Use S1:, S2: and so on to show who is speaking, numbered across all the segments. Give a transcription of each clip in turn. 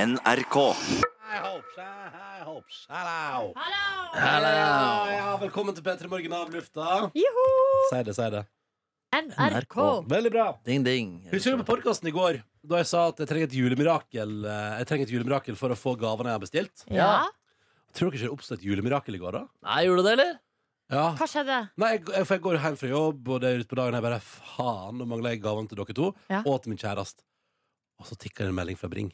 S1: NRK.
S2: Hei, hops, hei, hops, hallo.
S1: Hallo.
S2: Ja, velkommen til P3 Morgen av lufta.
S3: Joho!
S2: Si det, si det.
S3: NRK.
S2: Veldig bra.
S1: Ding, ding.
S2: Husker du på podkasten i går da jeg sa at jeg trenger et julemirakel eh, Jeg trenger et julemirakel for å få gavene jeg har bestilt?
S3: Ja.
S2: Tror dere ikke det oppstod et julemirakel i går, da?
S1: Nei, gjorde du det, eller?
S2: Ja.
S3: Hva skjedde?
S2: Nei, jeg, for jeg går hjem fra jobb, og det er utpå dagen. Jeg bare faen, nå mangler jeg gavene til dere to
S3: Ja.
S2: og til min kjæreste. Og så tikker det en melding fra Bring.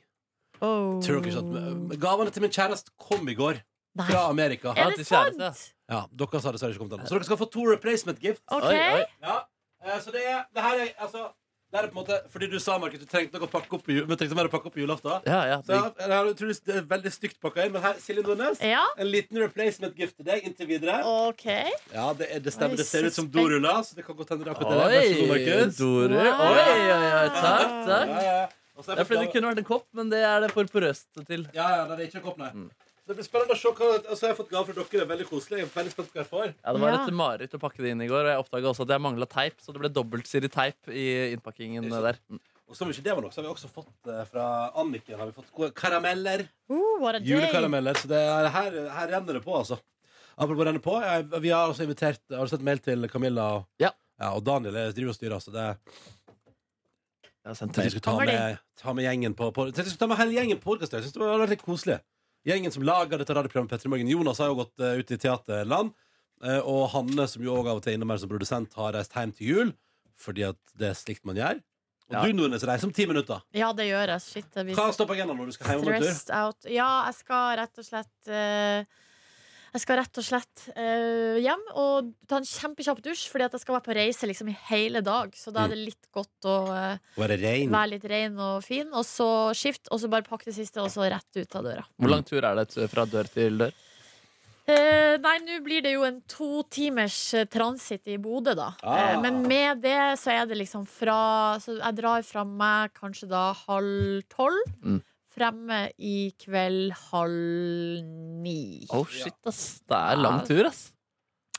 S3: Oh.
S2: Tror dere ikke at Gavene til min kjæreste kom i går
S3: Nei.
S2: fra Amerika.
S3: Er det
S1: Til kjæreste,
S3: sant?
S2: Ja, dere sa dessverre ikke kommet ennå. Så dere skal få to replacement gift.
S3: OK.
S1: Oi, oi.
S2: Ja, eh, så det er Det her er altså Det her er på en måte Fordi du sa, Markus, du trengte noe å pakke opp i jul, men trengte mer å pakke opp i julaften.
S1: Ja, ja.
S2: Så jeg, har- jeg har utrolig det er veldig stygt pakka inn, men her, Silje Nordnes
S3: Ja,
S2: en liten replacement gift til deg inntil videre.
S3: OK.
S2: Ja, det, er, det stemmer.
S3: Oi,
S2: Det ser ut som
S3: suspekt.
S2: doruller. Så det kan godt hende det er akkurat det. der. Vær så god,
S1: Oi,
S2: Markus.
S1: Dorer.
S3: Wow.
S1: Oi, oi, oi. Takk,
S2: Ja,
S1: takk.
S2: ja, ja. Og så er
S1: Det er fordi det kunne vært en kopp, men det er det for porøst til.
S2: Ja, ja, nei, det er ikke en kopp, nei. Så Det blir spennende å se hva Og så har jeg fått gave fra dere. Det er veldig koselig. Jeg er veldig spent på hva jeg får.
S1: Ja, Det var
S3: Ja.
S1: et mareritt å pakke det inn i går, og jeg oppdaga også at jeg mangla teip, så det ble dobbeltsidig teip i innpakkingen der.
S2: Og som ikke det var nok, så har vi også fått eh, fra Anniken har vi fått ko- karameller.
S3: Oh, what a day.
S2: Julekarameller. Så det er, her, her renner det på, altså. Apropos renne på. Jeg, vi har altså invitert Har du sett mail til Camilla og,
S1: Ja.
S2: og Daniel? Jeg driver og styrer, altså. Det,
S1: Jeg har sendt
S2: jeg tenkte
S1: mail.
S2: jeg skulle ta
S3: Hva var det?
S2: med, ta med gjengen på, på jeg tenkte jeg skulle ta med hele gjengen på podcast. Jeg synes det hadde vært litt koselig. Gjengen som lager dette radioprogrammet Petter i Morgen. Jonas har jo gått eh, ut i teaterland. eh, og Hanne, som jo også av og til er innom her som produsent, har reist hjem til jul. Fordi at det er slikt man gjør. Og
S1: Ja.
S2: du, Nordnes, reiser om ti minutter.
S3: Ja, det gjør jeg. Shit, jeg
S2: Hva
S3: blir
S2: står på agendaen når du skal hjem om en tur?
S3: stressed out. Ja, jeg skal rett og slett eh, jeg skal rett og slett eh, hjem og ta en kjempekjapp dusj, fordi at jeg skal være på reise liksom i hele dag. Så da er det litt godt å eh,
S2: Og er det regn?
S3: være litt ren og fin, og så skift, og så bare pakke det siste, og så rett ut av døra.
S1: Hvor lang tur er det fra dør til dør?
S3: Eh, nei, nå blir det jo en to timers eh, transit i Bodø, da.
S2: Ah.
S3: Eh, men med det så er det liksom fra Så jeg drar fra meg kanskje da halv tolv.
S1: Mm.
S3: Fremme i kveld halv ni.
S1: Oh shit, ass. Det er lang tur, ass.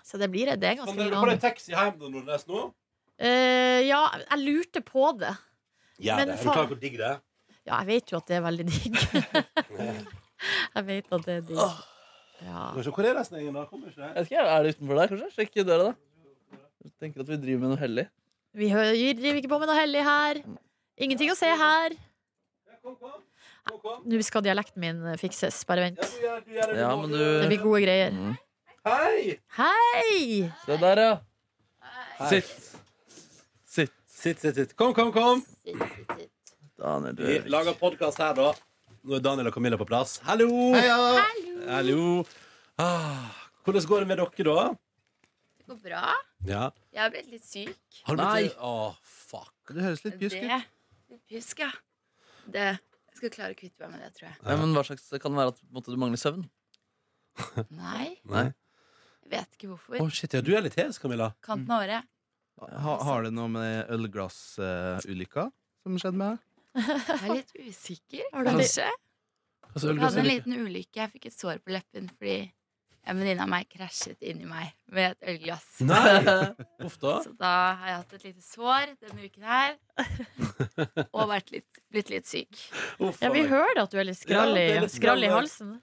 S3: Så det blir det. Det er
S2: Kan
S3: ganske
S2: dere på
S3: lang.
S2: deg taxi hjem da, Nordnes, nå?
S3: Eh, ja, jeg lurte på det.
S2: Ja,
S3: Men
S2: det. Er du
S3: faen-
S2: klar over hvor digg det er?
S3: Ja, jeg vet jo at det er veldig digg. jeg vet at det er digg. Ja.
S2: Kanskje, Hvor er resten av gjengen da? Kommer ikke det?
S1: Jeg vet ikke, Er det utenfor der, kanskje? Sjekk døra, da. Jeg tenker at vi driver med noe hellig.
S3: Vi hø- driver ikke på med noe hellig her. Ingenting å se her.
S2: Ja, Kom, kom. Kom, kom.
S3: Nå skal dialekten min fikses. Bare vent.
S2: Ja, du gjør, du gjør det.
S1: Ja,
S2: må
S1: men
S2: du-
S1: du-
S3: Det blir gode greier.
S1: Mm.
S2: Hei!
S3: Hei!
S1: Se der, ja. Sitt. Sitt.
S2: Sitt, sitt, sitt. Kom, kom, kom.
S1: Daniel,
S2: Vi
S1: du
S2: lager podkast her, da. Nå er Daniel og Camilla på plass. Hallo! Hallo. Ah, hvordan går det med dere, da?
S4: Det går bra.
S2: Ja.
S4: Jeg har blitt litt syk.
S2: Har du
S1: Nei.
S2: blitt Å, fuck.
S5: Det høres litt pjusk ut.
S4: Det Pjusk, ja. Det Jeg skal klare å kvitte meg med det, tror jeg.
S1: Nei, men hva slags kan det være at på en måte, du mangler søvn?
S4: Nei,
S2: Nei.
S4: jeg vet ikke
S2: Å,
S4: hvorfor.
S2: shit, ja, Du er litt hes, Camilla.
S4: Kanten av året.
S5: Ha, har det noe med ølglassulykka som skjedde med deg?
S4: Jeg er litt usikker,
S3: Har du
S4: kanskje.
S2: Altså,
S4: Jeg hadde en
S2: ølglasset-
S4: liten ulykke. Jeg fikk et sår på leppen fordi en venninne av meg krasjet inni meg med et ølglass.
S2: Nei! Uff da.
S4: Så da har jeg hatt et lite sår denne uken her. Og vært litt, blitt litt syk.
S2: Uff,
S3: Ja, vi
S2: faen.
S3: hører at du er litt skrall i,
S2: Ja, det er litt
S3: skrall i
S2: skrall.
S3: halsen.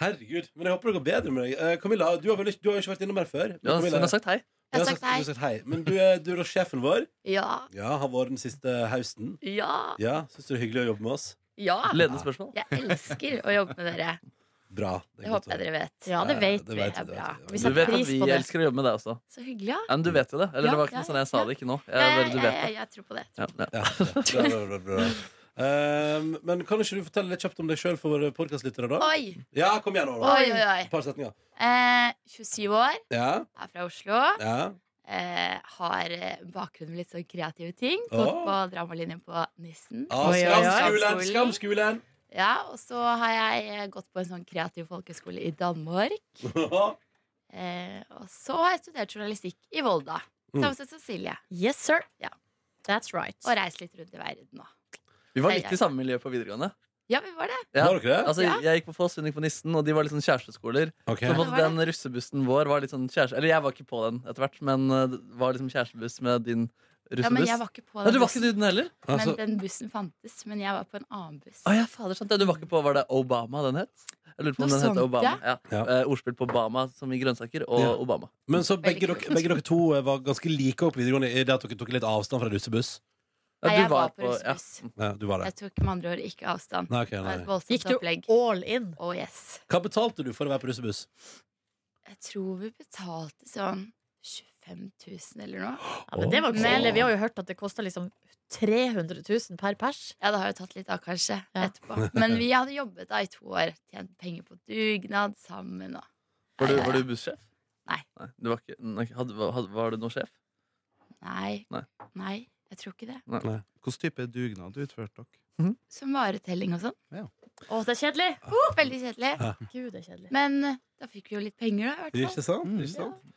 S2: Herregud. Men jeg håper det går bedre med deg. Eh, Camilla, du har, vel ikke, du har jo ikke vært innom her før. Men
S1: Ja,
S2: Camilla-
S1: hun har sagt hei.
S2: Ja,
S4: Jeg har
S2: så-
S4: sagt
S2: du
S4: hei.
S2: har sagt hei. Men du er, du er da sjefen vår.
S4: Ja.
S2: Ja, har vært den siste høsten.
S4: Ja.
S2: Ja, Syns du det er hyggelig å jobbe med oss?
S4: Ja.
S1: Ledende spørsmål.
S4: Jeg elsker å jobbe med dere.
S2: Bra. Det
S4: Det håper jeg dere vet.
S3: Ja, det vet
S2: det
S3: vi.
S2: vet
S4: er
S2: vi, det
S4: bra.
S2: vet vi.
S3: Vi
S1: Du
S3: setter
S1: vet at
S3: pris
S1: vi
S3: på det.
S1: elsker å jobbe med deg også.
S4: Så hyggelig, ja.
S1: Ja, men du vet jo det. Eller
S4: Ja,
S1: det var ikke
S4: ja,
S1: noe sånn jeg sa
S4: ja.
S1: det ikke nå.
S4: Ja,
S1: Jeg, bare, du vet det.
S4: jeg, jeg tror på det.
S1: Ja, ja.
S2: Ja, bra, bra, bra, bra. Ehm, men kan ikke du fortelle litt kjapt om deg sjøl for våre podkastlyttere, da?
S4: Oi,
S2: Ja, kom igjen, Ola.
S4: oi, oi, oi.
S2: Et par setninger.
S4: Eh, 27 år,
S2: Ja,
S4: er fra Oslo.
S2: ja.
S4: Eh, har eh, bakgrunn med litt sånn kreative ting.
S2: Åh.
S4: Gått på dramalinjen på Nissen.
S2: Ah,
S3: Oi, oi, oi.
S2: skamskolen! Skamskolen!
S4: Ja, Og så har jeg eh, gått på en sånn kreativ folkeskole i Danmark. Eh, og så har jeg studert journalistikk i Volda.
S2: Mm.
S4: Samme som Cecilie.
S3: Yes, sir.
S4: Ja.
S3: That's right.
S4: Og reist litt rundt i verden nå.
S1: Vi var
S4: Hei,
S1: litt
S4: hei.
S1: i samme miljø på videregående.
S4: Ja, vi var det.
S1: Ja.
S2: Var dere det?
S1: Altså,
S4: Ja.
S1: Jeg gikk på Foss, hun gikk på Nissen, og de var litt sånn kjæresteskoler.
S2: Ok.
S1: Så på en
S4: det
S1: måte
S4: var det.
S1: den russebussen vår var litt sånn kjæreste... Eller jeg var ikke på den etter hvert, men eh, det var liksom kjærestebuss med din
S4: Ja, men
S1: russebuss?
S4: jeg var ikke på
S1: Nei,
S4: den
S1: du var ikke
S4: bussen.
S1: i den heller?
S4: Men
S2: Altså,
S4: den bussen fantes, men jeg var på en annen buss.
S1: Å ja, fader, sant det. Du var ikke på, Var det Obama den het? Jeg lurer på om
S4: Noe
S1: den het
S4: sånt,
S1: Obama. Ja.
S2: Ja.
S1: Eh, ordspill på Bama, som i grønnsaker, og
S2: Ja.
S1: Obama.
S2: men så
S4: Veldig
S2: begge dere,
S4: kult.
S2: begge dere to eh, var ganske like opp på videregående i det at dere tok litt avstand fra russebuss.
S1: Ja,
S4: Nei,
S1: du
S4: jeg var på
S1: ja.
S4: russebuss.
S2: Ja, du var det.
S4: Jeg tok med andre ord ikke avstand.
S2: Nei, ok,
S4: Det
S2: nei.
S4: var et voldsomt
S3: Gikk du
S4: opplegg.
S3: all in?
S4: Oh yes.
S2: Hva betalte du for å være på russebuss?
S4: Jeg tror vi betalte sånn 25 000 eller noe.
S3: Ja, men det var ikke så ille. Vi har jo hørt at det kosta liksom 300 000 per pers.
S4: Ja, det har jo tatt litt av, kanskje,
S3: Ja.
S4: etterpå. Men vi hadde jobbet da i to år. Tjent penger på dugnad sammen og
S1: Var
S4: Ja,
S1: du,
S4: ja,
S1: var
S4: ja.
S1: du bussjef?
S4: Nei.
S1: du var, ikke, nei, hadde, hadde, var du noen sjef?
S4: Nei.
S1: Nei.
S4: Nei, jeg tror ikke det.
S5: Hvilken type dugnad utførte dere?
S4: Som varetelling og sånn.
S3: Å, det er kjedelig!
S4: Oh, veldig kjedelig.
S3: Gud, det er kjedelig.
S4: Men eh, da fikk vi jo litt penger, da. i hvert fall.
S2: Ikke sant?
S5: Mm.
S2: Ikke sant?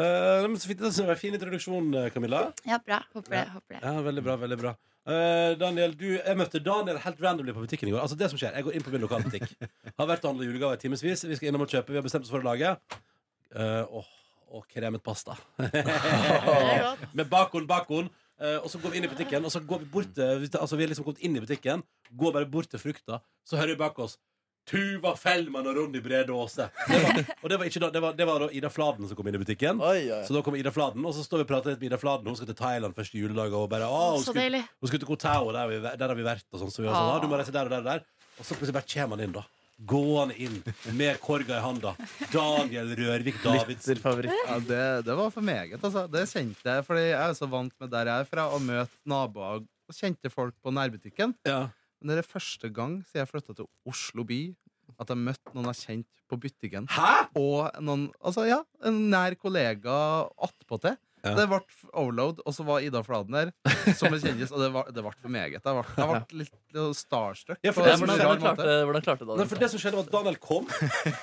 S2: Eh, nei, men så fint, det var en fin introduksjon, eh, Camilla.
S4: Ja, bra. Håper det. Håper det.
S2: Ja, veldig bra, veldig bra Eh, Daniel, du, jeg møtte Daniel helt randomly på butikken i går Altså det som skjer, jeg går inn på min lokalbutikk Har vært og handlet julegaver i timesvis Vi skal innom og kjøpe, vi har bestemt oss for å lage Eh, Åh, og kremet pasta
S3: Det er godt.
S2: Med bakon, bakon Eh, Og så går vi inn i butikken Og så går vi bort til, vi- altså vi har liksom kommet inn i butikken Går bare bort til frukta Så hører vi bak oss Tuva Fellmann og Ronny Brede Aase Det var- Og det var, ikke, da- det var, det var da Ida Fladen som kom inn i butikken
S1: Oi, oi.
S2: så da kommer Ida Fladen, og så står vi og prater litt med Ida Fladen. Hun skal til Thailand første juledag. Og bare, å, hun,
S3: Så
S2: skulle,
S3: deilig.
S2: hun skulle til Koh Tao, og der, har vi- der har vi vært. Og sånn, så vi var sånn,
S4: Ah.
S2: «Ah, du må reise der og der og der. Og så plutselig bare kommer han inn, da. Gående inn med korga i handa. Daniel Rørvik Davidsen.
S5: Ja, det, det var for meget, altså. Det kjente jeg, fordi jeg er så vant med der jeg er fra, å møte naboer og kjente folk på nærbutikken.
S2: Ja.
S5: Men det er første gang siden jeg flytta til Oslo by, at jeg møtte noen jeg kjente på butikken.
S2: Hæ?!
S5: Og noen, altså ja, en nær kollega attpåtil.
S2: Ja.
S5: Det ble overload, og så var Ida Fladen der. Som en kjendis, og det var- det ble for meget. Jeg ble, jeg ble litt starstruck.
S2: Ja, for
S5: på
S1: Ja,
S2: det som
S5: en
S1: hvordan,
S2: skjer-
S5: rar
S1: hvordan,
S5: måte.
S1: klarte, hvordan klarte du
S2: Nei,
S1: det?
S2: for det som skjedde var at Daniel kom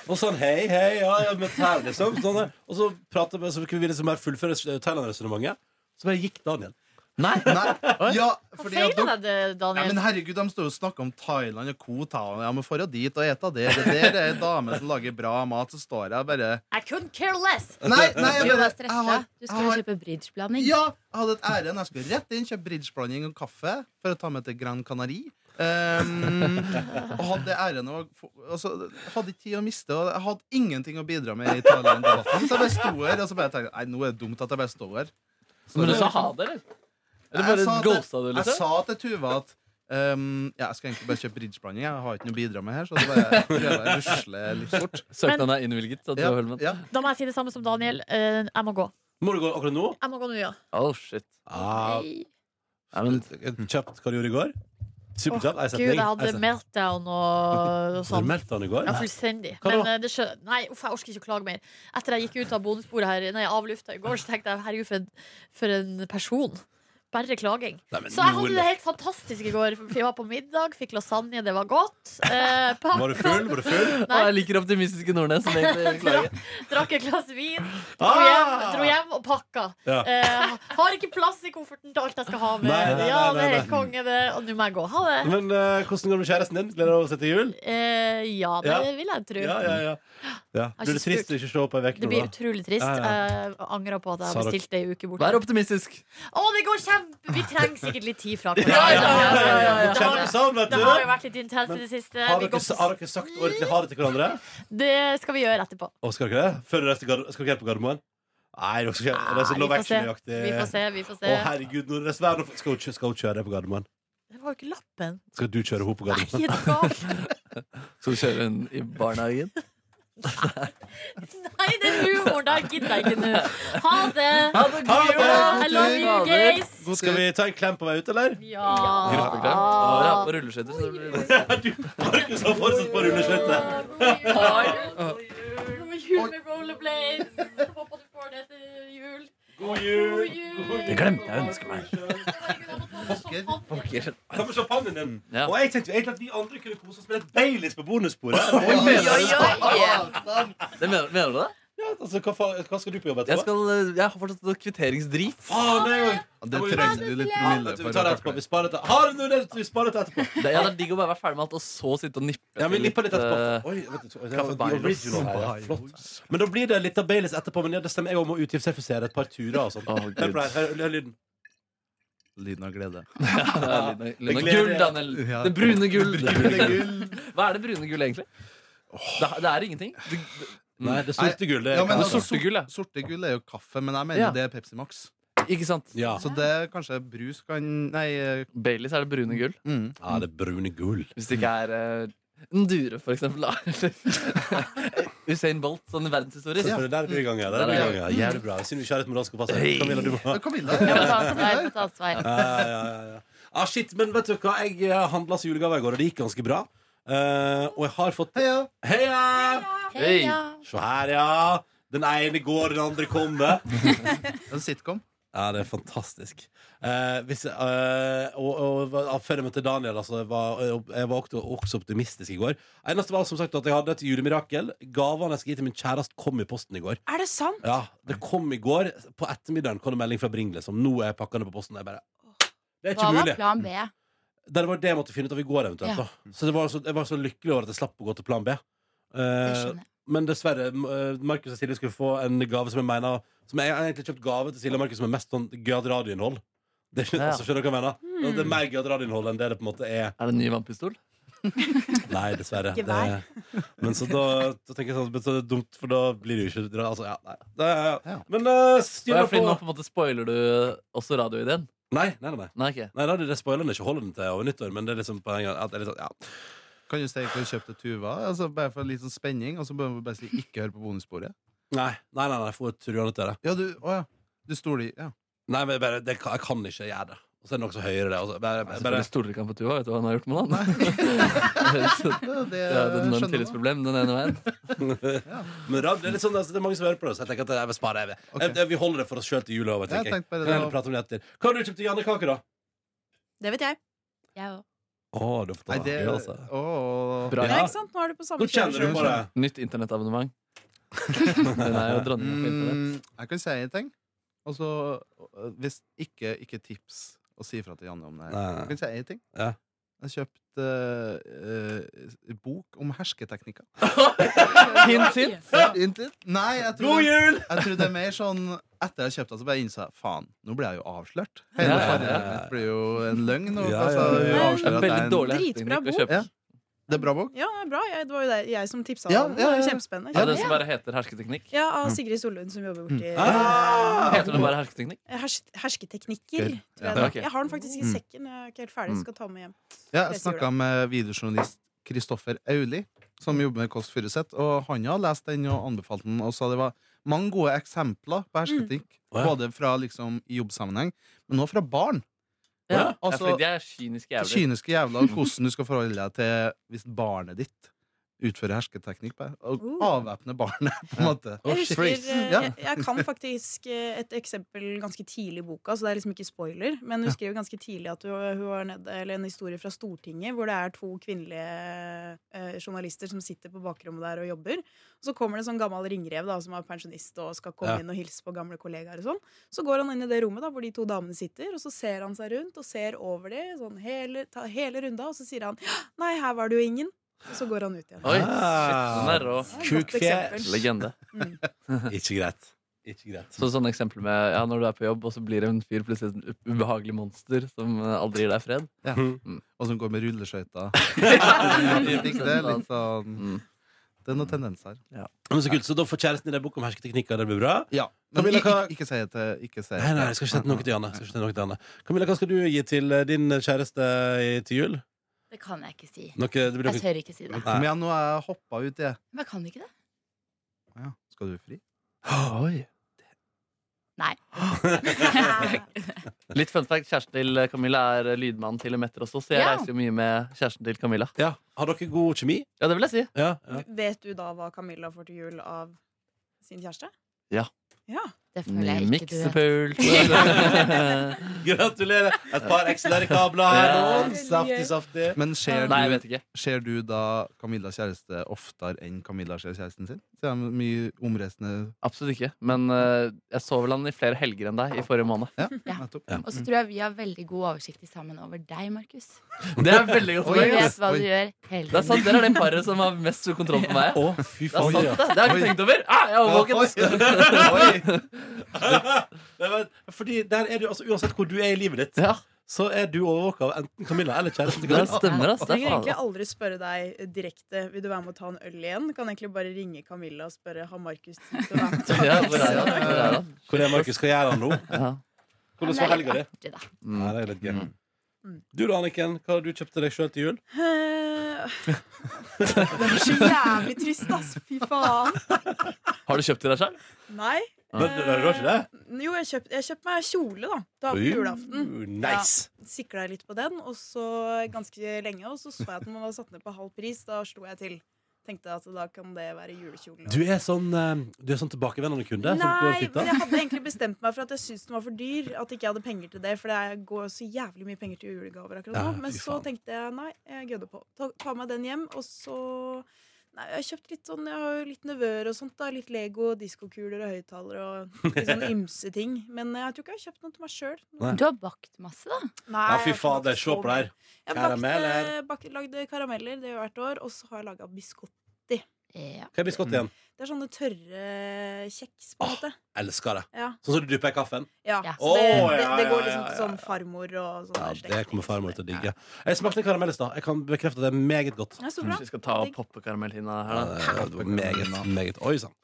S2: og sa han, hei, hei, ja, ja, men her, liksom. Sånn, der. og så pratet vi, så kunne vi liksom bare fullføre Thailand-resonnementet. Så bare gikk Daniel.
S5: Nei, nei. Ja,
S3: Hva
S5: fordi at dere-
S3: feiler deg, det,
S5: Ja, men
S3: Daniel?
S5: herregud, De står jo og snakker om Thailand og Koh Tao. Ja, men for å dit og ete det. Det der er ei dame som lager bra mat, så står jeg bare
S3: I couldn't care less!
S5: Nei, nei,
S4: Du
S5: jeg
S4: var
S5: bare jeg
S4: stressa.
S5: har,
S4: Du
S5: jeg
S4: skulle
S5: har,
S4: kjøpe bridgeblanding.
S5: Ja, jeg hadde et ærend. Jeg skulle rett inn, kjøpe bridgeblanding og kaffe for å ta med til Gran Canari. Um, og hadde æren av å få- altså, Hadde ikke tid å miste. Og jeg hadde ingenting å bidra med i Thailand-debatten. Så jeg bare sto her og så bare tenkte Nei, nå er det dumt at jeg bare står her.
S1: Men du sa ha det, eller? Eller bare
S5: Jeg sa at-
S1: ghosta du,
S5: Jeg
S1: liksom?
S5: sa til Tuva at ehm, ja, jeg skal egentlig bare kjøpe bridgeblanding. Jeg har ikke noe å bidra med her. Så da bare prøver jeg å rusle litt fort.
S1: Søknaden er innvilget. Så du
S5: Ja,
S1: holder med den.
S5: ja.
S3: Da må jeg si det samme som Daniel. Eh, jeg må gå.
S2: Må du gå akkurat nå?
S3: Jeg må gå nå, ja.
S1: Oh, shit.
S2: Ah,
S4: Hei.
S1: Nei, men,
S2: kjapt hva du gjorde i går? Superkjapt.
S3: Åh,
S2: ei
S3: Gud,
S2: setning.
S3: jeg
S2: ei
S3: hadde
S2: setning.
S3: meltdown og,
S2: Har
S3: og
S2: du
S3: sånn.
S2: meldt han i går?
S3: Ja, fullstendig.
S2: Hva
S3: Men
S2: da?
S3: eh, det skjø... Nei, uff, jeg orker ikke å klage mer. Etter jeg gikk ut av bonusbordet her, nei, av lufta i går, så tenkte jeg herregud, for en, for en person. Bare klaging.
S2: Nei, men
S3: Så jeg hadde
S2: Nordli.
S3: det helt fantastisk i går. Jeg var på middag, fikk lasagne, det var godt. Eh, pa-
S2: Var du full? Var du full?
S1: Å, jeg liker optimistiske Nordnes. som egentlig klager.
S3: Drakk et glass vin, dro hjem, dro hjem og pakka.
S2: Ah! Ja.
S3: Eh, har ikke plass i kofferten til alt jeg skal ha med.
S2: Nei, nei, nei,
S3: ja, det er
S2: nei, nei.
S3: helt konge, det. Og nå må jeg gå. Ha det.
S2: Men eh, hvordan går det med kjæresten din? Gleder du deg å se til jul?
S3: Eh, ja, det
S2: Ja.
S3: vil jeg tro.
S2: Ja, ja, ja. ja.
S3: Har
S2: Blir det
S3: ikke
S2: trist å ikke se på ei uke nå,
S3: Det blir
S2: da?
S3: utrolig trist.
S2: Ja,
S3: Jeg angrer på at jeg
S2: Sa dere-
S3: bestilte ei uke bort.
S1: Vær optimistisk.
S3: Å, det går kjempe Vi trenger sikkert litt tid fra hverandre.
S2: Ja, ja, ja, ja, ja, ja.
S3: Det,
S2: Kjenner
S3: har-
S2: du sammen, sånn, vet
S3: det har jo
S2: du?
S3: vært litt intenst i det siste.
S2: Har
S3: Vi
S2: dere,
S3: går på-
S2: har dere sagt ordentlig ha det til hverandre?
S3: Det skal vi gjøre etterpå.
S2: Og skal dere det? Før dere reiser til Garder- skal dere helt på Gardermoen? Nei, dere skal ikke det er
S3: Nei,
S2: sånn
S3: vi
S2: Love
S3: får se.
S2: Actually-aktig.
S3: Vi får se. Vi får
S2: Å,
S3: se.
S2: herregud, når dere svær, nå- skal hun kjø- skal hun kjøre deg på Gardermoen?
S3: Det var jo ikke lappen.
S2: Skal du kjøre henne på
S3: Nei,
S2: Gardermoen?
S3: er du gal?
S1: Skal du kjøre hun i barnehagen?
S3: Nei, den humoren der gidder jeg ikke nå. Ha det.
S1: Ha det
S2: Ha det!
S3: I love you, guys.
S5: God
S2: Skal
S5: tur.
S2: vi ta en klem på vei ut, eller?
S3: Ja.
S1: Gruppeklem. Og rapp og rulleskøyter. så det blir-
S2: Markus har fortsatt på rulleskøytene.
S3: God jul. God jul med rollerblades. Håper du får det til jul.
S2: God jul!
S1: Det glemte jeg å ønske meg.
S3: Herregud, jeg må ta meg champagne.
S2: Ta med champagnen din.
S1: Ja.
S2: Og jeg tenkte jo egentlig at vi andre kunne kose oss med et Baileys på bonusbordet.
S1: Det mener, mener du det?
S2: Ja, altså, hva, fa- hva skal du på jobb etterpå?
S1: Jeg, skal, jeg har fortsatt noe kvitteringsdrit.
S2: Faen, det er jo
S5: Det trenger du litt
S2: Ja,
S5: promille
S2: vet du,
S5: for.
S2: vi tar det
S5: å
S2: etterpå.
S5: takle.
S2: Vi sparer det Har du noe der? Vi sparer det etterpå.
S1: Det, ja, det er digg å bare være ferdig med alt og så sitte og nippe
S2: Ja, vi nipper litt
S1: eh,
S2: etterpå. Oi, vet du, det var
S1: Kaffe
S2: the
S1: Baileys.
S2: original her, ja. Flott. Men da blir det litt av Baileys etterpå. Men ja, det stemmer, jeg også må utgiftseffisere et par turer og sånn.
S1: Å,
S2: Hør
S1: Gud.
S2: på det her, hør, hør lyden.
S5: Lyden av glede.
S1: Det er Luna
S2: gleder
S1: Gull,
S2: jeg.
S1: Daniel.
S5: Ja.
S1: Det brune gull.
S5: Brune gull.
S1: Hva er det brune gull, egentlig? Det, det er ingenting. Det, det,
S2: Nei, det sorte gullet.
S5: Ja, men
S1: det
S5: altså,
S1: sorte gull, ja.
S5: Sorte gull er jo kaffe, men jeg mener
S1: Ja.
S5: det er Pepsi Max.
S1: Ikke sant?
S2: sånn. ja.
S5: Så det er kanskje brus kan Nei. eh,
S1: Baileys er det brune gull.
S5: Mm.
S2: ja, det er brune gull.
S1: Hvis det ikke er eh, Endure, for eksempel. da. Eller Usain Bolt, sånn verdenshistorie.
S2: Så for det der er vi i gang, ja. Der er vi i gang, ja. Jævlig bra. Synd vi ikke har et moralsk kompass. her. Camilla, du må ha.
S5: Ja, Camilla.
S4: Jeg må ta ansvar, jeg må ta ansvar.
S2: Ja, ja, ja, ja. Ah, shit, men vet du hva? Jeg handla så julegave i går, og det gikk ganske bra. Eh, og jeg har fått
S5: Heia.
S2: Heia!
S1: Hei.
S4: Heia.
S2: Se her, ja. Den ene går, den andre kommer.
S5: En sitcom.
S2: Ja, det er fantastisk. Eh, hvis, eh, og, og, og før jeg møtte Daniel, altså, var, jeg var også, også optimistisk i går. Eneste var som sagt at jeg hadde et julemirakel. Gavene jeg skal gi til min kjæreste, kom i posten i går.
S6: Er det sant?
S2: Ja, Det kom i går. På ettermiddagen kom det melding fra Bring. Liksom. Nå er pakkene på posten. Jeg bare Det er
S4: Hva
S2: ikke
S4: var
S2: mulig.
S4: plan B?
S2: Det var det jeg måtte finne ut av i går, eventuelt.
S4: Ja.
S2: Da. Så, det var så jeg var så lykkelig over at jeg slapp å gå til plan B.
S4: Det
S2: Eh,
S4: skjønner jeg.
S2: men dessverre, m- eh, Markus og Silje skulle få en gave som jeg mener Som jeg, jeg har egentlig kjøpt gave til Silje og Markus som er mest sånn gøyalt radioinnhold. Det, er-
S1: Ja.
S2: altså, skjønner dere hva jeg mener?
S4: Hmm.
S2: Det- Det er mer gøyalt radioinnhold enn det det på en måte er.
S1: Er det en ny vannpistol?
S2: Nei, dessverre.
S6: Ikke
S2: Det, men så da, da tenker jeg sånn men så er det dumt, for da blir det jo ikke dra- Altså, ja, nei. Det,
S5: Ja.
S2: Men uh,
S1: Det er
S2: styr
S1: fordi nå
S2: på
S1: på en måte spoiler du også radioideen.
S2: Nei, nei, nei. nei.
S1: Nei, ikke.
S2: Nei, da, det, det spoiler den ikke. Holder den til over nyttår, men det er liksom poenget at det er litt sånn, ja.
S5: Kan du si hva du kjøpte Tuva? Altså, bare for litt sånn spenning. Og så bør vi bare si ikke hør på bonussporet.
S2: Nei, nei, nei, nei, for truende til det.
S5: Ja, du, å, ja. du stoler ja.
S2: Nei, men bare, det, kan- jeg kan ikke gjøre det. Og så er det noe så høyere, det. og så bare, bare,
S1: Selvfølgelig stoler ikke han på Tuva. Vet du hva han har gjort med han?
S5: Det, det,
S1: Det er et
S5: skjønner
S1: enormt
S5: man.
S1: tillitsproblem den ene veien.
S2: Men rad, det er litt sånn, altså, det er mange som hører på det, så jeg tenker at jeg vil spare evig.
S5: Ok.
S2: Eh, Vi holder det for oss sjøl til jula. over,
S5: Ja,
S2: tenker jeg.
S5: jeg tenkte bare
S2: Kan
S5: det
S2: heller
S5: var-
S2: prate om det etter. Hva har du kjøpt til Janne Kake, da?
S6: Det vet jeg.
S4: Jeg òg.
S2: Å, du får ta
S5: Nei, det,
S2: det, altså.
S5: å,
S1: Bra.
S6: Nei,
S2: Ja.
S6: ikke sant? Nå er du på samme
S2: Nå kjenner du på det.
S1: Nytt internettabonnement. Den er jo dronninga på internett.
S5: mm, Jeg kan si en ting. Og så øh, hvis ikke, ikke tips og si ifra til Janne om det. her.
S2: Nei.
S5: Jeg kan si en ting.
S2: Ja.
S5: Jeg kjøpte øh, øh, bok om hersketeknikker.
S1: Hint, hint.
S5: Inntil- Nei, jeg
S2: God
S5: tror,
S2: jul!
S5: jeg tror det er mer sånn Etter jeg kjøpte det, så bare innså jeg faen, nå blir jeg jo avslørt.
S1: Ja,
S5: Hele
S1: ja,
S5: forrige
S2: ja, ja.
S5: mitt blir jo en løgn. Og,
S2: Ja, ja,
S5: altså,
S2: ja, ja.
S5: hun
S1: Det
S5: avslører
S1: er
S5: at jeg er
S1: veldig
S5: en-
S1: dårlig
S6: Dritbra
S1: hersketeknikk å
S6: bok.
S1: kjøpe.
S5: Ja. Det er bra bok.
S6: Ja, det er bra. Jeg, det var jo det, jeg som tipsa
S5: Ja,
S6: om
S5: ja,
S6: det. Det
S5: ja.
S6: er Kjempespennende.
S1: Ja,
S6: Ja,
S1: det som bare heter hersketeknikk.
S6: av Sigrid Sollund som jobber borti
S2: Ah!
S1: Heter det bare hersketeknikk?
S6: hers hersketeknikker.
S5: Gøy.
S6: Tror jeg,
S1: Ja,
S6: det.
S1: ok.
S6: jeg har den faktisk i
S5: Mm.
S6: sekken. Jeg er ikke helt ferdig,
S5: Mm.
S6: skal ta med hjem.
S5: Ja, jeg
S6: Det sier
S5: snakka med videojournalist Kristoffer Auli,
S6: Mm.
S5: som jobber med Kåss Furuseth. Og han har lest den og anbefalt den, og sa det var mange gode eksempler
S6: Mm.
S5: på hersketeknikk.
S2: Å, ja.
S5: Både fra liksom, i jobbsammenheng, men også fra barn.
S1: Ja,
S2: Ja,
S1: Ja,
S5: altså-
S1: fordi de er kyniske jævler.
S5: Kyniske jævla hvordan du skal forholde deg til hvis barnet ditt utfører hersketeknikk på deg. Og
S6: Oh.
S5: avvæpne barnet, på en måte.
S2: Oh,
S6: Jeg, husker,
S2: shit.
S6: eh,
S5: Ja.
S6: jeg, jeg kan faktisk eh, et eksempel ganske tidlig i boka, så det er liksom ikke spoiler. Men hun skriver ganske tidlig at hun, hun har ned, eller en historie fra Stortinget hvor det er to kvinnelige eh, journalister som sitter på bakrommet der og jobber. Så kommer det en sånn gammel ringrev da, som er pensjonist og skal
S2: Ja.
S6: komme inn og hilse på gamle kollegaer. og sånn. Så går han inn i det rommet da, hvor de to damene sitter, og så ser han seg rundt og ser over det, sånn hele, ta hele runda, og så sier han 'Nei, her var det jo ingen'. Og så går han ut igjen.
S1: Oi, shit, den er rå.
S6: Det er et godt
S2: Kukfjes.
S6: eksempel.
S1: Legende.
S6: Mm.
S2: Ikke greit. Ikke greit.
S1: Så sånne eksempler med ja, når du er på jobb, og så blir det en fyr plutselig et u- ubehagelig monster som eh, aldri gir deg fred.
S2: Mm.
S5: Og som går med rulleskøyter.
S1: Ikke
S5: Det er
S1: sant?
S5: litt sånn
S1: Mm.
S5: Det er noen tendenser.
S2: Men så kult, så da får kjæresten i deg bok om hersketeknikker. Det blir bra.
S5: Ja. Men
S2: Camilla,
S5: ikke,
S2: hva-
S5: ikke si det til ikke si det
S2: Nei, nei,
S5: til-
S2: jeg skal ikke sette noe til Janne. Jeg Skal ikke sette noe til Janne. Camilla, hva skal du gi til eh, din kjæreste i- til jul?
S4: Det kan jeg ikke si.
S2: Noe, det blir
S4: Jeg
S2: noe...
S4: tør ikke si det.
S5: Kom igjen, nå har jeg hoppa ut, jeg.
S4: Men jeg kan ikke det.
S5: Ja. Skal du fri?
S1: Oi.
S4: Nei.
S1: Litt fun fact, kjæresten til Camilla er eh, lydmannen til Metter også, så jeg
S4: Ja.
S1: reiser jo mye med kjæresten til Camilla.
S2: Ja. Har dere god kjemi?
S1: Ja, det vil jeg si.
S2: Ja, ja.
S6: Vet du da hva Camilla får til jul av sin kjæreste?
S1: Ja.
S6: Ja.
S4: Det føler
S1: Ny
S4: jeg ikke du vet.
S1: miksepult.
S2: Gratulerer! Et par XLR-kabler kabler her
S1: Ja.
S2: nå. Saftig, saftig.
S5: Men ser
S1: Nei, jeg
S5: du,
S1: vet ikke.
S5: ser du da Camilla kjæreste oftere enn Camilla ser kjæresten sin? Ser han mye omreisende
S1: Absolutt ikke. Men eh, jeg så vel han i flere helger enn deg i forrige måned.
S5: Ja,
S4: Ja.
S5: nettopp.
S2: Ja.
S4: Og så tror jeg vi har veldig god oversikt sammen over deg, Markus.
S1: Det er veldig godt
S4: Vi
S5: Oi,
S1: poeng. ass.
S5: yes.
S4: vet hva du
S5: Oi.
S4: gjør hele
S1: Det er sant,
S4: tiden.
S1: Dere er den paret som har mest kontroll på meg.
S2: Å, fy
S1: Det er
S2: faen. ja.
S1: sant, det. Det har jeg ikke tenkt over. Ah, jeg er overvåket.
S5: Oi.
S2: Nei, men, Fordi der er du, altså Uansett hvor du er i livet ditt,
S1: Ja.
S2: så er du overvåka av enten Camilla eller kjæresten til
S1: Det
S2: Camilla.
S1: stemmer, ass. Det er
S6: trenger egentlig
S1: faen.
S6: aldri spørre deg eh, direkte Vil du være med å ta en øl igjen. Kan egentlig bare ringe Camilla og spørre Har Markus tid til å være med. og ta
S1: Ja,
S6: en øl?»
S1: hvor er han? Hvor er han?
S2: Hvor er Markus? Hva gjør han nå?
S1: Ja.
S4: Men
S2: Hvordan
S4: det
S2: var
S4: er litt
S2: helga di?
S4: artig, da.
S1: Mm.
S2: Nei, det er litt gøy.
S6: Mm.
S2: Du da, Anniken, hva har du kjøpt til deg sjøl til jul?
S6: Eh, Det er så jævlig trist, ass. Fy faen.
S1: Har du kjøpt til deg sjøl?
S6: Nei.
S2: Men,
S6: eh,
S2: det var ikke det?
S6: Jo, jeg kjøpte jeg kjøpt meg kjole, da. Da på julaften.
S2: Uh, nice.
S6: Sikla litt på den, og så ganske lenge. Og så så jeg at den var satt ned på halv pris. Da slo jeg til. Tenkte at da kan det være julekjolen.
S2: Du er sånn, eh, du er sånn tilbakevendende kunde? som går og
S6: Nei,
S2: flytter.
S6: men jeg hadde egentlig bestemt meg for at jeg syntes den var for dyr. At ikke jeg hadde penger til det, for det går så jævlig mye penger til julegaver akkurat
S2: Ja,
S6: nå. Men
S2: fy
S6: så
S2: faen.
S6: tenkte jeg nei, jeg gødder på. Ta, ta med den hjem, og så Nei, jeg har kjøpt litt sånn, jeg har jo litt nevøer og sånt. da Litt Lego, diskokuler og høyttalere og litt sånn ymse ting. Men jeg tror ikke jeg har kjøpt noe til meg sjøl.
S2: Nei.
S4: Du har bakt masse, da.
S2: Ja, fy fader, se på det her.
S6: Jeg
S2: Karameller.
S6: bakte, bak, lagde karameller det gjør jeg hvert år, og så har jeg laga biskott.
S4: Ja.
S2: Hva er biskottet igjen?
S6: Det er sånne tørre kjeks, på en måte.
S2: Elsker det.
S6: Ja.
S2: Sånn som du dypper i kaffen?
S6: Ja,
S4: Ja.
S6: så det,
S2: Å, ja,
S6: det, det
S2: ja,
S6: går
S2: ja,
S6: liksom
S2: ja,
S6: til
S2: ja.
S6: sånn farmor og sånn.
S2: Ja,
S6: der
S2: det
S6: stekning,
S2: kommer farmor til å
S6: liksom.
S2: digge. Jeg smakte karamell i stad. Jeg kan bekrefte at det er meget godt.
S6: Ja, så bra.
S1: Kanskje vi skal ta og poppe karamellhinna her, da.
S2: Ja, det var meget, meget. Oi sann.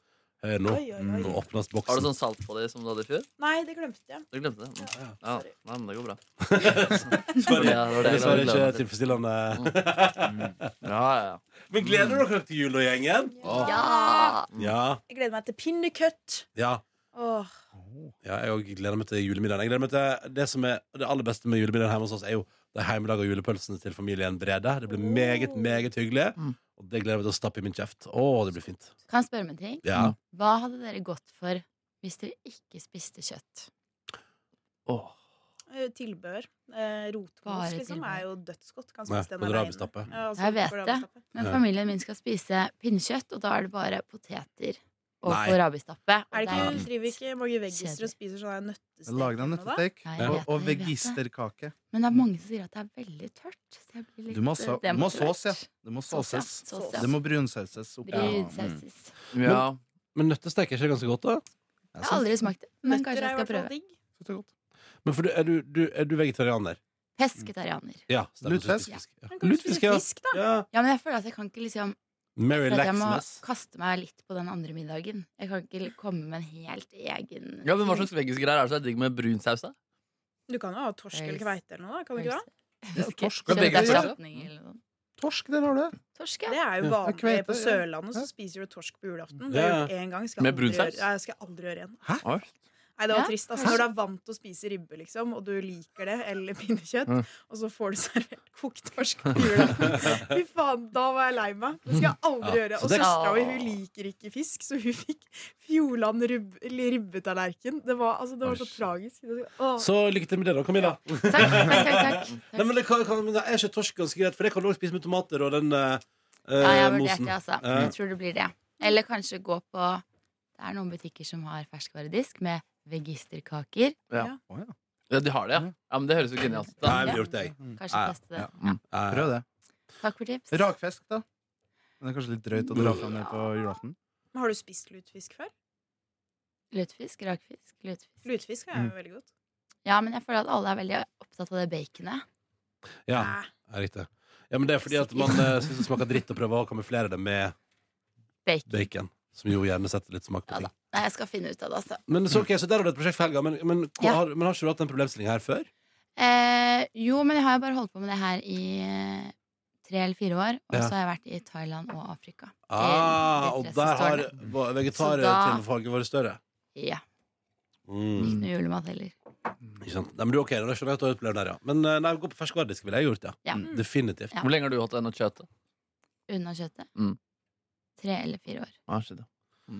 S2: Hør nå.
S6: Oi, oi, oi.
S2: Nå åpnes
S1: Har du
S2: boksen.
S1: sånn salt på det som du hadde i fjor?
S6: Nei, det glemte jeg.
S1: Du glemte det?
S2: Ja.
S1: Ja,
S6: Sorry.
S1: Nei, men det går bra.
S2: Sorry.
S1: Ja, det var
S2: Det
S1: det
S2: er Dessverre
S1: jeg gleder
S2: ikke
S1: meg til.
S2: tilfredsstillende.
S1: Mm. Ja, ja.
S2: Men gleder dere dere til jul og gjengen?
S4: ja.
S2: Ja.
S6: Jeg gleder meg til pinnekjøtt.
S2: ja.
S6: Åh,
S2: Ja, jeg også gleder meg til julemiddagen. Jeg gleder meg til Det som er det aller beste med julemiddagen hjemme hos oss, er jo de hjemmelaga julepølsene til familien Brede. Det blir meget, meget hyggelig.
S1: Mm.
S2: Og det gleder jeg meg til å stappe i min kjeft. Å, det blir fint.
S6: Sånn
S4: Kan jeg spørre om en ting?
S2: Ja.
S4: Hva hadde dere gått for hvis dere ikke spiste kjøtt?
S1: Åh.
S6: eh, tilbør. Eh, Rotkos
S4: Bare
S6: liksom,
S4: tilbør.
S6: er jo dødsgodt. Kan
S2: Nei,
S6: spise den
S2: på
S6: alene.
S2: drabbestappe.
S6: Ja, altså,
S4: Jeg vet
S6: på
S4: det.
S6: drabbestappe.
S4: Men
S2: Ja.
S4: familien min skal spise pinnekjøtt, og da er det bare poteter og
S2: Nei.
S4: kålrabistappe. og
S6: Er
S4: er
S6: det ikke,
S4: litt-
S6: driver ikke Maggie Veggister
S4: Kjedelig.
S6: og spiser sånn her nøttestek?
S5: Lag deg en
S6: eller noe da?
S5: nøttestek
S4: Nei, jeg
S5: og,
S4: vet
S5: og
S4: det, jeg vet
S5: vegisterkake.
S4: Men det er mange som sier at det er veldig tørt. Så jeg blir litt, eh,
S5: Du må, sa,
S4: det
S5: du må
S4: motivert.
S5: sås, ja. Det må
S4: Sås, ja.
S5: såses.
S4: Sås, ja.
S5: Det må brunsauses oppi. Mm.
S4: Brunsausis.
S1: Ja.
S2: Men nøttestek er ikke ganske godt, da?
S4: Jeg har aldri smakt det, men
S6: Nøtter
S4: kanskje
S6: er
S4: jeg
S6: i
S4: skal
S6: hvert fall
S4: prøve.
S6: digg.
S2: Men for du, er, du, du, er du vegetarianer?
S4: Pesketarianer.
S2: Ja. stemmer.
S5: Lutfisk?
S2: Ja.
S6: Men kan du
S2: Lutfisk,
S6: spise
S2: ja.
S6: fisk, da?
S2: ja.
S4: Ja, men jeg føler at jeg kan ikke liksom
S2: Mary
S4: for at Jeg må
S2: Laxness.
S4: kaste meg litt på den andre middagen. Jeg kan ikke komme med en helt egen
S1: ja, men Hva slags veggisgreier er det som er digg med brun saus? da?
S6: Du kan jo ha torsk eller kveite eller noe, da. Kan du ikke det?
S1: Ja, begge
S4: Kjøtt er
S1: deler.
S4: slapning eller noe.
S5: Torsk, der har du det.
S4: Torsk, ja.
S6: Det er jo
S5: Ja.
S6: vanlig
S5: Kveite,
S6: på
S5: ja.
S6: Sørlandet, så
S5: Ja.
S6: spiser du torsk på julaften. Det
S2: Ja, ja.
S6: har jeg gjort én gang. Skal
S1: Med
S6: aldri
S1: brunsaus?
S6: gjøre- Ja, jeg skal aldri gjøre igjen.
S1: Oi.
S6: Nei, det var
S4: Ja.
S6: trist. Altså, når du er vant til å spise ribbe, liksom, og du liker det, eller pinnekjøtt,
S1: Ja.
S6: og så får du servert kokt torsk på julaften Fy faen, da var jeg lei meg. Det skal jeg aldri
S2: Ja,
S6: gjøre.
S2: så
S6: Og
S2: det-
S6: søstera mi hun liker ikke fisk, så hun fikk Fjordland ribb- eller ribbetallerken. Det var, altså, det var så tragisk. Åh.
S2: Så lykke til med det, da, Camilla.
S4: Takk, takk, takk. takk.
S2: Nei, men det kan, kan, men det er ikke torsk ganske greit, for det kan du også spise med tomater og den eh,
S4: Ja, jeg har
S2: eh,
S4: vurdert
S2: mosen.
S4: det, altså.
S2: Ja.
S4: Jeg tror det blir det. Eller kanskje gå på Det er noen butikker som har ferskvaredisk med vegisterkaker.
S1: Ja, de har det, ja. ja men Det høres jo genialt ut.
S2: Nei,
S1: da
S2: jeg ville gjort det, jeg.
S4: Kanskje
S2: Ja,
S4: teste det.
S1: ja.
S4: Ja.
S2: Eh,
S5: Prøv det.
S4: Takk for tips.
S5: Rakfisk, da. Men det er kanskje litt drøyt å dra fram det på julaften.
S6: Men Har du spist lutfisk før?
S4: Lutefisk, rakfisk, lutefisk.
S6: Lutfisk er jo veldig godt.
S4: Ja, men jeg føler at alle er veldig opptatt av det baconet.
S2: ja,
S6: Nei.
S2: ja, riktig. Ja, men det er fordi at man uh, syns det smaker dritt, og prøver å kamuflere det med
S4: Bacon.
S2: bacon. Som jo gjerne setter litt smak på
S4: Ja da.
S2: ting.
S4: Nei, jeg skal finne ut av det, altså.
S2: Men så, ok, så der har du et prosjekt for helga, men, men, hvor,
S4: Ja.
S2: har, men har ikke du hatt den problemstillinga her før?
S4: Eh, jo, men jeg har jo bare holdt på med det her i eh, tre eller fire år. Og
S2: Ja.
S4: så har jeg vært i Thailand og Afrika.
S2: Ah,
S4: de
S2: og
S4: tre siste
S2: der har
S4: årene.
S2: va- vegetartilfaget vært større.
S4: Ja.
S2: Mm.
S4: Ikke noe julemat heller.
S2: Ikke sant? Nei, men du, ok, da skjønner jeg at du har et problem der, ja. Men eh, nei, gå på ferskvaredisk ville jeg gjort, ja.
S4: Ja.
S2: Mm. Definitivt.
S4: Ja.
S1: Hvor lenge har du hatt denne kjøttet?
S4: Unna kjøttet.
S1: Mm.
S4: Tre eller fire år,
S1: Ah, shit, ja.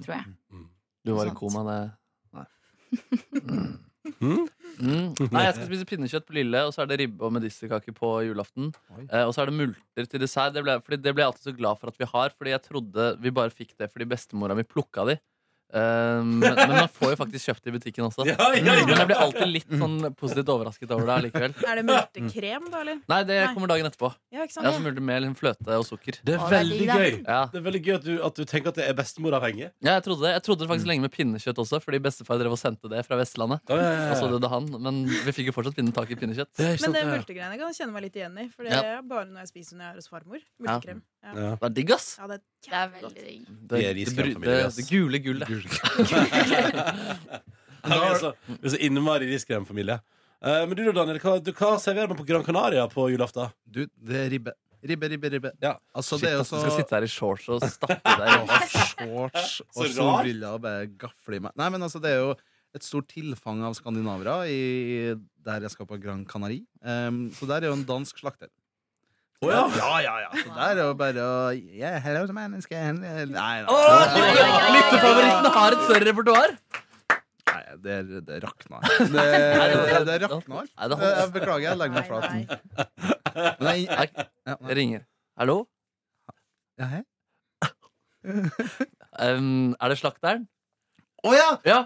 S4: tror jeg.
S2: Mm.
S1: Du var i
S4: Sant.
S1: koma, det Nei.
S2: Mm?
S1: Mm. Nei, jeg skal spise pinnekjøtt på Lille, og så er det ribbe og medisterkake på julaften.
S5: Oi.
S1: Eh, og så er det multer til dessert. Det ble, fordi det ble jeg alltid så glad for at vi har, fordi jeg trodde vi bare fikk det fordi bestemora mi plukka de. Eh, men, men man får jo faktisk kjøpt det i butikken også.
S2: Ja, ja,
S1: Men jeg
S2: ja.
S1: blir alltid litt sånn positivt overrasket over det allikevel.
S6: Er det multekrem, da, eller?
S1: Nei, det
S6: Nei.
S1: kommer dagen etterpå.
S6: Ja, ikke
S1: Ja,
S6: sant?
S1: så mulig mel, fløte og sukker.
S2: Det er
S4: Å, det er
S2: veldig
S4: digg, da.
S2: gøy.
S1: Ja.
S2: Det er veldig gøy at du, at du tenker at det er bestemoravhengig.
S1: ja, jeg trodde det. Jeg trodde det faktisk lenge med pinnekjøtt også, fordi bestefar drev og sendte det fra Vestlandet.
S2: Ja, ja,
S1: Og så døde han, men vi fikk jo fortsatt finne tak i pinnekjøtt.
S2: Det er ikke sant,
S6: Men det
S2: Eh. ja.
S6: multegreiene kan jeg kjenne meg litt igjen i. For det
S1: Ja.
S6: er bare når jeg spiser når jeg er hos farmor. Multekrem. Ja.
S2: Ja.
S1: Det er digg, ass!
S6: Ja, det er
S4: Det er
S6: kjempegodt.
S4: veldig digg.
S1: Det,
S2: Vi er
S1: det,
S2: risk i
S1: bru-
S2: en familie,
S1: det,
S2: ass.
S1: det gule gullet.
S2: Ja, vi er så, vi er så innmari riskremfamilie. Eh, men du da, Daniel, hva, du, hva serverer man på Gran Canaria på julaften?
S5: Du, det er ribbe. Ribbe, ribbe, ribbe.
S2: Ja.
S5: Altså,
S1: Shit,
S5: det er jo
S1: at du skal
S5: så
S1: sitte her i shorts og stappe deg
S5: og shorts
S2: Så
S5: og
S2: rart.
S5: solbriller og bare gafle i meg. Nei, men altså, det er jo et stort tilfang av skandinavere i, der jeg skal på Gran Canari. Em, så der er jo en dansk slakter.
S2: Å ja.
S5: ja, ja, ja. Så der er jo bare å yeah, Hello, the man, skal jeg- Nei, nei.
S1: Lyttefavorittene har et større repertoar!
S5: nei det, er- det rakna. Det, det, det rakna.
S1: Nei, det
S5: Jeg
S1: holder.
S5: beklager, jeg legger meg flat.
S6: Nei, nei.
S5: Men jeg-
S1: Nei,
S5: ja,
S1: Jeg ringer. Hallo?
S5: ja, hei.
S1: Um, er det slakteren?
S5: Å ja!
S1: Ja!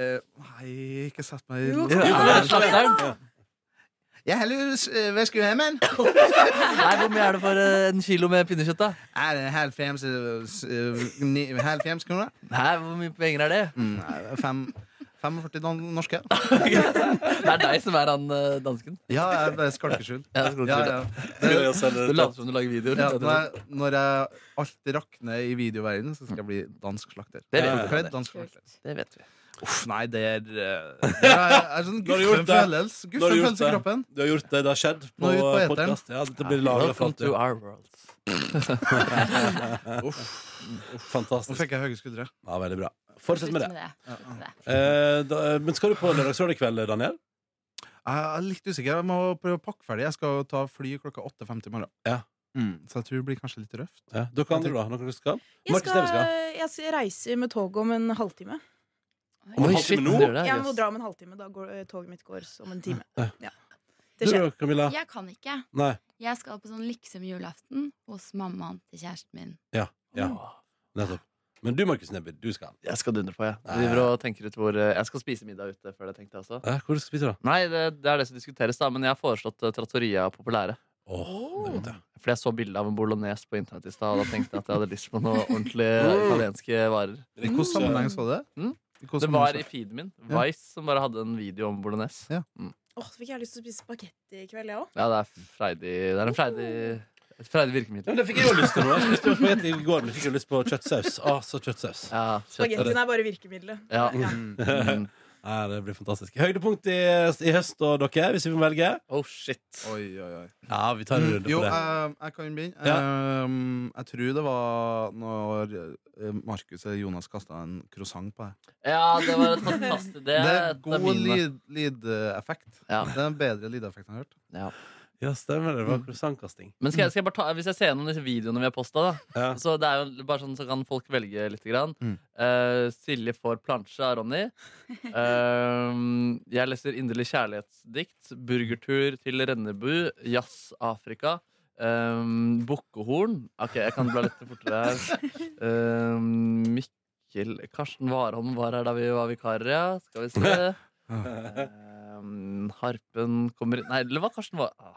S5: Eh, Nei, ikke sett meg i
S6: Jo,
S1: Jo, er det slakteren?
S5: Jeg heller eh, Hva skulle jeg med?
S1: Nei, Hvor mye er det for eh, en kilo med pinnekjøtt, da?
S5: Er det halvfems eh, s- eh, ni- halvfems kroner?
S1: Nei, Hvor mye penger er det?
S5: Mm, nei, det er fem- 45 dan- norske.
S1: Det er deg som er han eh, dansken.
S5: Ja, jeg er bare skalkeskjul.
S1: Ja, det skal du
S5: Ja,
S1: ikke
S5: ja.
S2: Prøver jeg å selge
S1: Du
S2: det.
S1: later som du lager videoer.
S5: Ja, når, jeg, når jeg alt rakner i videoverdenen, så skal jeg bli dansk slakter.
S1: Det
S2: vet vi.
S5: Forkledd dansk slakter.
S4: Kult.
S1: Det vet vi.
S5: Uff, nei, det er eh, Det er, er sånn
S2: Nå har du gjort
S5: guffen
S2: det. Nå har
S5: følelse.
S2: du
S5: Guffen
S2: gjort
S5: følelse i
S2: det.
S5: kroppen.
S2: Du har gjort det, det har skjedd på,
S5: Nå er vi ute på eteren.
S2: podcast. Ja, dette blir laget for
S1: Welcome
S2: at
S1: to our world.
S5: Uff, nå
S2: Fantastisk.
S5: fikk jeg høye skuldre.
S2: Ja, veldig bra. Fortsett med
S4: Slutt
S2: det.
S4: med det.
S2: Eh, da, men skal du på lørdagsrådet i kveld, Daniel?
S5: Jeg er litt usikker. Jeg må prøve å pakke ferdig. Jeg skal ta fly klokka 8.50 i morgen.
S2: Ja.
S5: Mm, så jeg tror det blir kanskje litt røft.
S2: Ja. Dere andre, da? Noen dere skal?
S6: Jeg
S2: Markus, dere
S6: skal,
S2: skal?
S6: jeg skal reise med tog om en halvtime.
S2: Om en halvtime nå?
S1: det gjør det,
S6: Jeg må
S1: jøss.
S6: dra om en halvtime. Da går eh, toget mitt går om en time.
S2: Ja.
S6: Ja.
S2: Du
S6: Det skjer.
S2: da, Camilla?
S4: Jeg kan ikke.
S2: Nei.
S4: Jeg skal på sånn liksom julaften hos mammaen til kjæresten min.
S2: Ja,
S6: Mm.
S2: nettopp. Men du, Markus Neby, du skal.
S1: Jeg skal dundre på, jeg.
S2: Nei.
S1: Jeg, driver og tenker ut hvor, eh, jeg skal spise middag ute før det, tenkte jeg også.
S2: Eh, hvor skal du spise, da?
S1: Nei, det, det er det som diskuteres, da, men jeg har foreslått eh, Trattoria Populære.
S2: Åh, det er godt, ja.
S1: For jeg så bilde av en bolognese på internett i stad, og da tenkte jeg at jeg hadde lyst på noen ordentlige italienske varer.
S5: I hvilken sammenheng så du det?
S1: Mm.
S5: I hvilken
S1: Det var i
S5: sammenheng så-
S1: feeden min.
S5: Ja.
S1: Vice som bare hadde en video om bolognese.
S5: Ja.
S1: Mm.
S6: Åh, så fikk jeg lyst til å spise spagetti i kveld, jeg òg.
S1: ja det er freidig Det er en freidig et freidig
S2: Ja,
S1: virkemiddel.
S2: men det fikk jeg jo lyst til nå. Jeg spiste jo spagetti i går, men jeg fikk jo lyst på kjøttsaus. Å, så kjøttsaus.
S1: Ja, kjøtt er det.
S6: Spagettien er bare virkemiddelet.
S1: Ja.
S5: Mm.
S1: Mm.
S2: Nei, det blir fantastisk. Høydepunkt i, i høst og dere, hvis vi må velge? Mm.
S1: Oh shit.
S5: Oi, oi, oi.
S2: Ja, vi tar
S1: Mm.
S2: en runde
S5: jo,
S2: på det.
S5: jeg, jeg kan begynne. Um, jeg tror det var når eh, Markus og Jonas kasta en croissant på deg.
S1: Ja, det var et fantastisk Det,
S5: Det
S1: er
S5: er
S1: et av
S5: god
S1: mine.
S5: lyd- lydeffekt.
S1: Ja.
S5: Det er en bedre lydeffekt enn jeg har hørt.
S1: Ja.
S2: Ja, stemmer det. Det var croissantkasting.
S1: Men skal jeg, skal jeg bare ta, hvis jeg ser gjennom disse videoene vi har posta, da,
S2: Ja.
S1: så det er jo bare sånn så kan folk velge litt. Grann.
S5: Mm.
S1: Eh, Silje får plansje av Ronny. Eh, jeg leser inderlig kjærlighetsdikt. Burgertur til Rennebu. Jazz Afrika. Um, Bukkehorn. Ok, jeg kan bla litt fortere her. Eh, Mikkel Karsten Warholm var her da vi var vikarer, ja. Skal vi se. Eh, harpen kommer inn Nei, eller var Karsten var ah,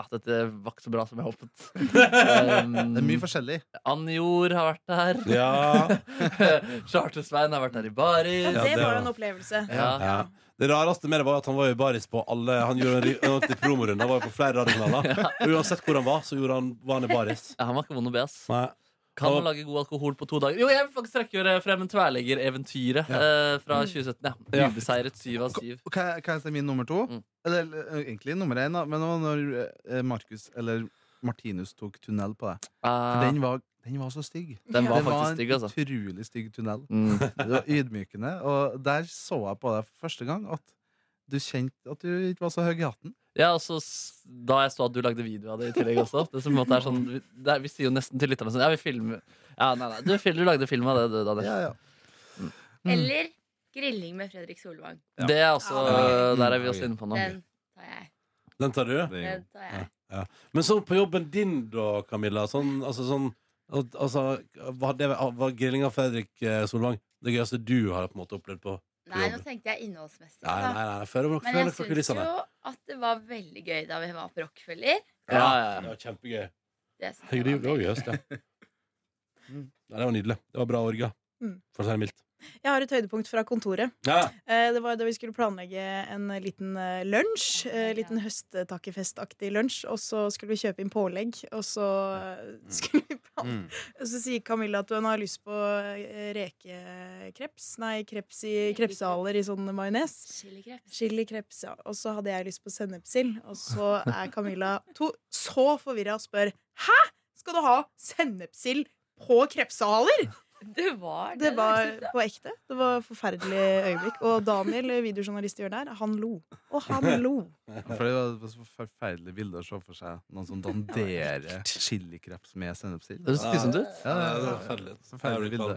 S1: ah, Dette var ikke så bra som jeg håpet.
S5: Det er
S1: Um,
S5: mye forskjellig.
S1: Anjor har vært der.
S2: Ja.
S1: Charter-Svein har vært der i baris.
S2: Ja,
S6: det
S2: det
S6: var
S2: var-
S6: jo en opplevelse.
S1: Ja.
S2: ja. Det rareste med det var at han var jo baris på alle Han gjorde en ri- en ordentlig promorunde. Han var jo på flere radiokanaler. Og uansett hvor han var, så gjorde han, var han i baris.
S1: Ja, Han var ikke vond å be, ass.
S2: Nei.
S1: Kan
S2: Og-
S1: man lage god alkohol på to dager? Jo, jeg vil faktisk trekkgjøre frem en tverrleggereventyret eh, fra 2017. ja
S2: Ja.
S1: Ubeseiret syv av syv.
S5: Og Hva, hva heter min nummer to?
S1: Mm.
S5: Eller eh, egentlig nummer én, da. Men det var når eh, Markus eller Martinus tok tunnel på deg. For
S1: Eh,
S5: den var, den var så stygg.
S1: den var
S5: det var
S1: faktisk
S5: en
S1: stygg, altså.
S5: utrolig stygg tunnel.
S1: Mm.
S5: Det var ydmykende. Og der så jeg på deg for første gang at du kjente at du ikke var så høy i hatten.
S1: Ja, og så s- Da jeg så at du lagde video av det i tillegg også det som på en måte er sånn, vi, det er, vi sier jo nesten til lytterne sånn Ja, vi filmer Ja, nei, nei, du, fil- du lagde film av det, du, Daniel.
S5: Ja, ja.
S2: Mm.
S4: Eller grilling med Fredrik Solvang.
S1: Det er også
S6: Ja,
S1: Der er vi også inne på nå.
S4: Den tar jeg.
S2: Den tar du?
S4: Den tar jeg.
S2: Men sånn på jobben din da, Camilla sånn, altså, sånn, al- altså, var, det, var grillinga Fredrik eh, Solvang Det gøyeste du har på en måte opplevd på
S4: Nei, nå tenkte jeg innholdsmessig.
S2: Nei, nei,
S4: Da.
S2: nei, nei. Før,
S4: Men jeg
S2: før
S4: syns
S2: kulissene.
S4: jo at det var veldig gøy da vi var på Rockefeller.
S1: Ja, ja,
S2: Det
S1: ja.
S2: var kjempegøy.
S4: Det syns
S2: Herregud, det
S4: jeg
S2: gjorde
S4: var
S2: vi også i høst, ja. Nei, det var nydelig. Det var bra orga.
S6: Mm.
S2: For å si det mildt.
S6: Jeg har et høydepunkt fra kontoret.
S2: Ja.
S6: Eh, Det var da vi skulle planlegge en liten eh, lunsj. eh, Liten høsttakkefestaktig lunsj. Og så skulle vi kjøpe inn pålegg, og så eh, skulle vi plan-
S5: Mm.
S6: Så sier Camilla at hun har lyst på eh, rekekreps. Nei, kreps i krepsehaler i sånn majones.
S4: Chilikreps.
S6: Chilikreps, ja. Og så hadde jeg lyst på sennepsild. Og så er Camilla to så forvirra og spør Hæ? Skal du ha sennepsild på krepsehaler?
S4: Det var
S6: Det var
S4: liksom.
S6: på ekte. Det var et forferdelig øyeblikk. Og Daniel, videojournalist i hjørnet her, han lo. Og han lo.
S5: For det var så forferdelig bilde å se for seg noen som danderer chilikreps med sennepsild.
S1: Det høres grusomt ut.
S5: Ja,
S2: Ja, det
S5: det
S2: var
S5: var
S2: forferdelig.
S5: forferdelig
S2: Ja,
S5: bilde.
S2: Er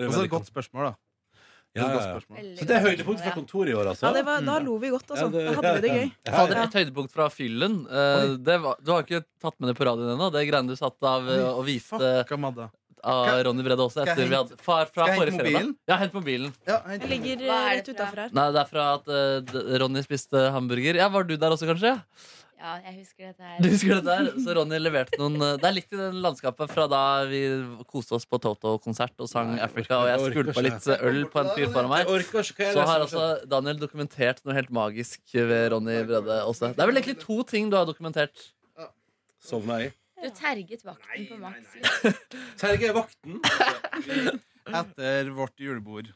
S2: det
S5: Og så
S2: veldig
S5: et godt spørsmål, da. Det
S2: Ja,
S5: er et
S2: ja, ja.
S5: godt spørsmål.
S4: Veldig
S2: Så det er
S4: godt.
S2: høydepunktet fra
S4: Ja.
S2: kontoret i år, altså?
S6: Ja, det var, da lo vi godt,
S2: Ja,
S6: altså.
S2: det-
S6: Da hadde vi det gøy.
S1: Fader,
S6: Ja.
S1: et høydepunkt fra fyllen. Eh, det var, du har ikke tatt med det på radioen ennå. Det greiene du satt av eh, å vite
S5: Fucka Madda.
S1: av
S5: Skal-
S1: Ronny Brede Aase
S5: skal jeg
S1: etter vi
S5: hente-
S1: hadde Far fra
S5: skal jeg
S1: forrige
S5: hente
S1: fredag.
S5: mobilen?
S1: Ja, hent mobilen.
S5: Ja, hent-
S6: Jeg ligger
S4: Hva er
S6: eh,
S4: det
S6: rett utafor her.
S1: Nei, det er fra at eh, d- Ronny spiste hamburger. Ja, Var du der også, kanskje?
S4: Ja, jeg husker dette
S1: Du
S4: her.
S1: husker det der? Så Ronny leverte noen eh, Det er litt i den landskapet fra da vi koste oss på Toto-konsert og sang
S2: Nei, jeg orker-
S1: Africa, og jeg
S2: jeg orker
S1: skvulpa
S2: ikke.
S1: litt eh, øl på en fyr foran meg.
S2: Jeg orker ikke hva jeg
S1: Så har
S2: leser.
S1: altså Daniel dokumentert noe helt magisk ved Ronny Brede Aase. Det er vel egentlig to ting du har dokumentert.
S2: Sovna i.
S4: Du terget vakten på Max.
S2: Terje er vakten.
S5: Etter vårt julebord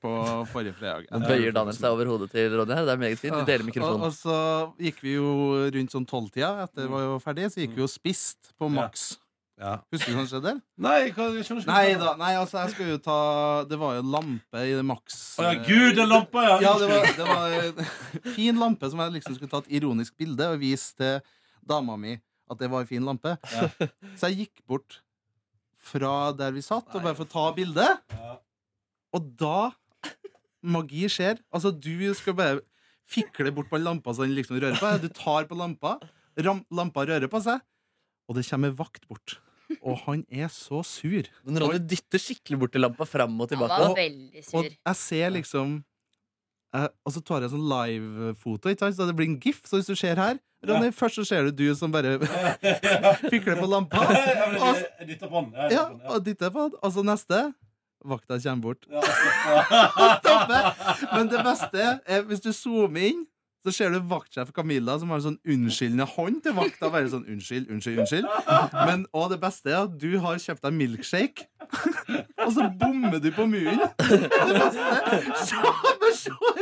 S5: på forrige fredag.
S1: Nå bøyer Daniel seg over hodet til Ronny her. Det er meget fint. Vi deler
S5: Og,
S1: mikrofonen.
S5: og så gikk vi jo rundt sånn tolvtida etter vi var ferdig, så gikk vi og spist på Max.
S2: Ja.
S5: Husker du hva som skjedde? der?
S2: Nei, hva, jeg skjønner ikke
S5: Nei da. Nei, altså, jeg skulle jo ta Det var jo en lampe i det Max
S2: Å ja, gud, den lampa, ja!
S5: Ja, det var, det var en fin lampe som jeg liksom skulle ta et ironisk bilde og vise til dama mi at det var en fin lampe.
S2: Ja.
S5: Så jeg gikk bort fra der vi satt, og bare for å ta bilde.
S2: Ja.
S5: Og da Magi skjer. Altså, du skal bare fikle bort på den lampa så den liksom rører på deg. Du tar på lampa, ram, lampa rører på seg, og det kommer vakt bort. Og han er så sur.
S1: Men Ronny dytter skikkelig bort til lampa fram og
S4: Han
S1: tilbake.
S4: var veldig sur.
S5: Og jeg ser liksom eh, Og så tar jeg sånn live-foto, ikke sant? så det blir en gif. Så hvis du ser her, Ronny, først så ser du du som bare fikler på lampa. Og, s-
S2: Jeg dytta på den. Jeg
S5: ja,
S2: dytter på den,
S5: og dytter på den. Og så neste. Vakta kommer bort.
S2: altså. Ja.
S5: Stopper. Men det beste er hvis du zoomer inn, så ser du vaktsjef Camilla som har en sånn unnskyldende hånd til vakta. Bare sånn unnskyld, unnskyld, unnskyld. Men og det beste er at du har kjøpt deg milkshake, og så bommer du på muren. Det beste Se, bare se!